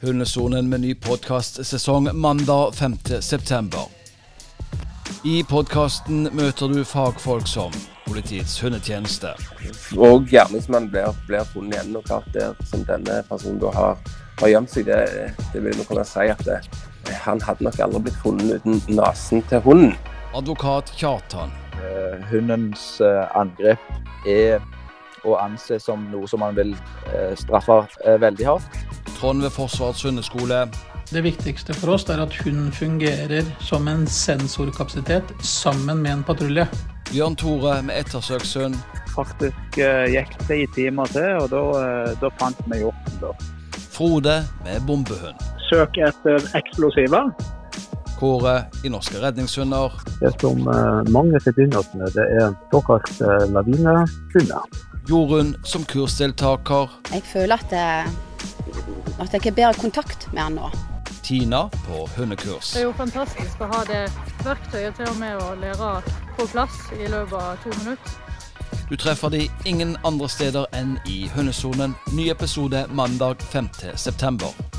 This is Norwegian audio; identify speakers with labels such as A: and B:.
A: Hundesonen med ny podkastsesong mandag 5. september. I podkasten møter du fagfolk som Politiets hundetjeneste,
B: Og gjerningsmannen blir, blir funnet igjen. Og klart der som denne personen da har, har gjemt seg, det, det vil vi kunne si at det, han hadde nok aldri blitt funnet uten nesen til hunden.
A: advokat Kjartan
C: Eh, hundens eh, angrep er å anse som noe som man vil eh, straffe eh, veldig hardt.
A: Trond ved Forsvarets hundeskole,
D: Det viktigste for oss er at hun fungerer som en sensorkapasitet sammen med en patrulje.
A: Bjørn Tore med ettersøkshund,
E: faktisk eh, gikk tre timer til, og da, eh, da fant vi hjorten. da.
A: Frode med bombehund,
E: Søk etter eksplosiver.
A: Kåre i Norske redningshunder,
F: Det som eh, mangler til begynnelsen, det er såkalt eh, lavinehunder.
A: Jorunn som kursdeltaker,
G: Jeg føler at, eh, at jeg har bedre kontakt med han nå.
A: Tina på hundekurs.
H: Det er jo fantastisk å ha det verktøyet til og med å lære på plass i løpet av to minutter.
A: Du treffer de ingen andre steder enn i hundesonen. Ny episode mandag 5. september.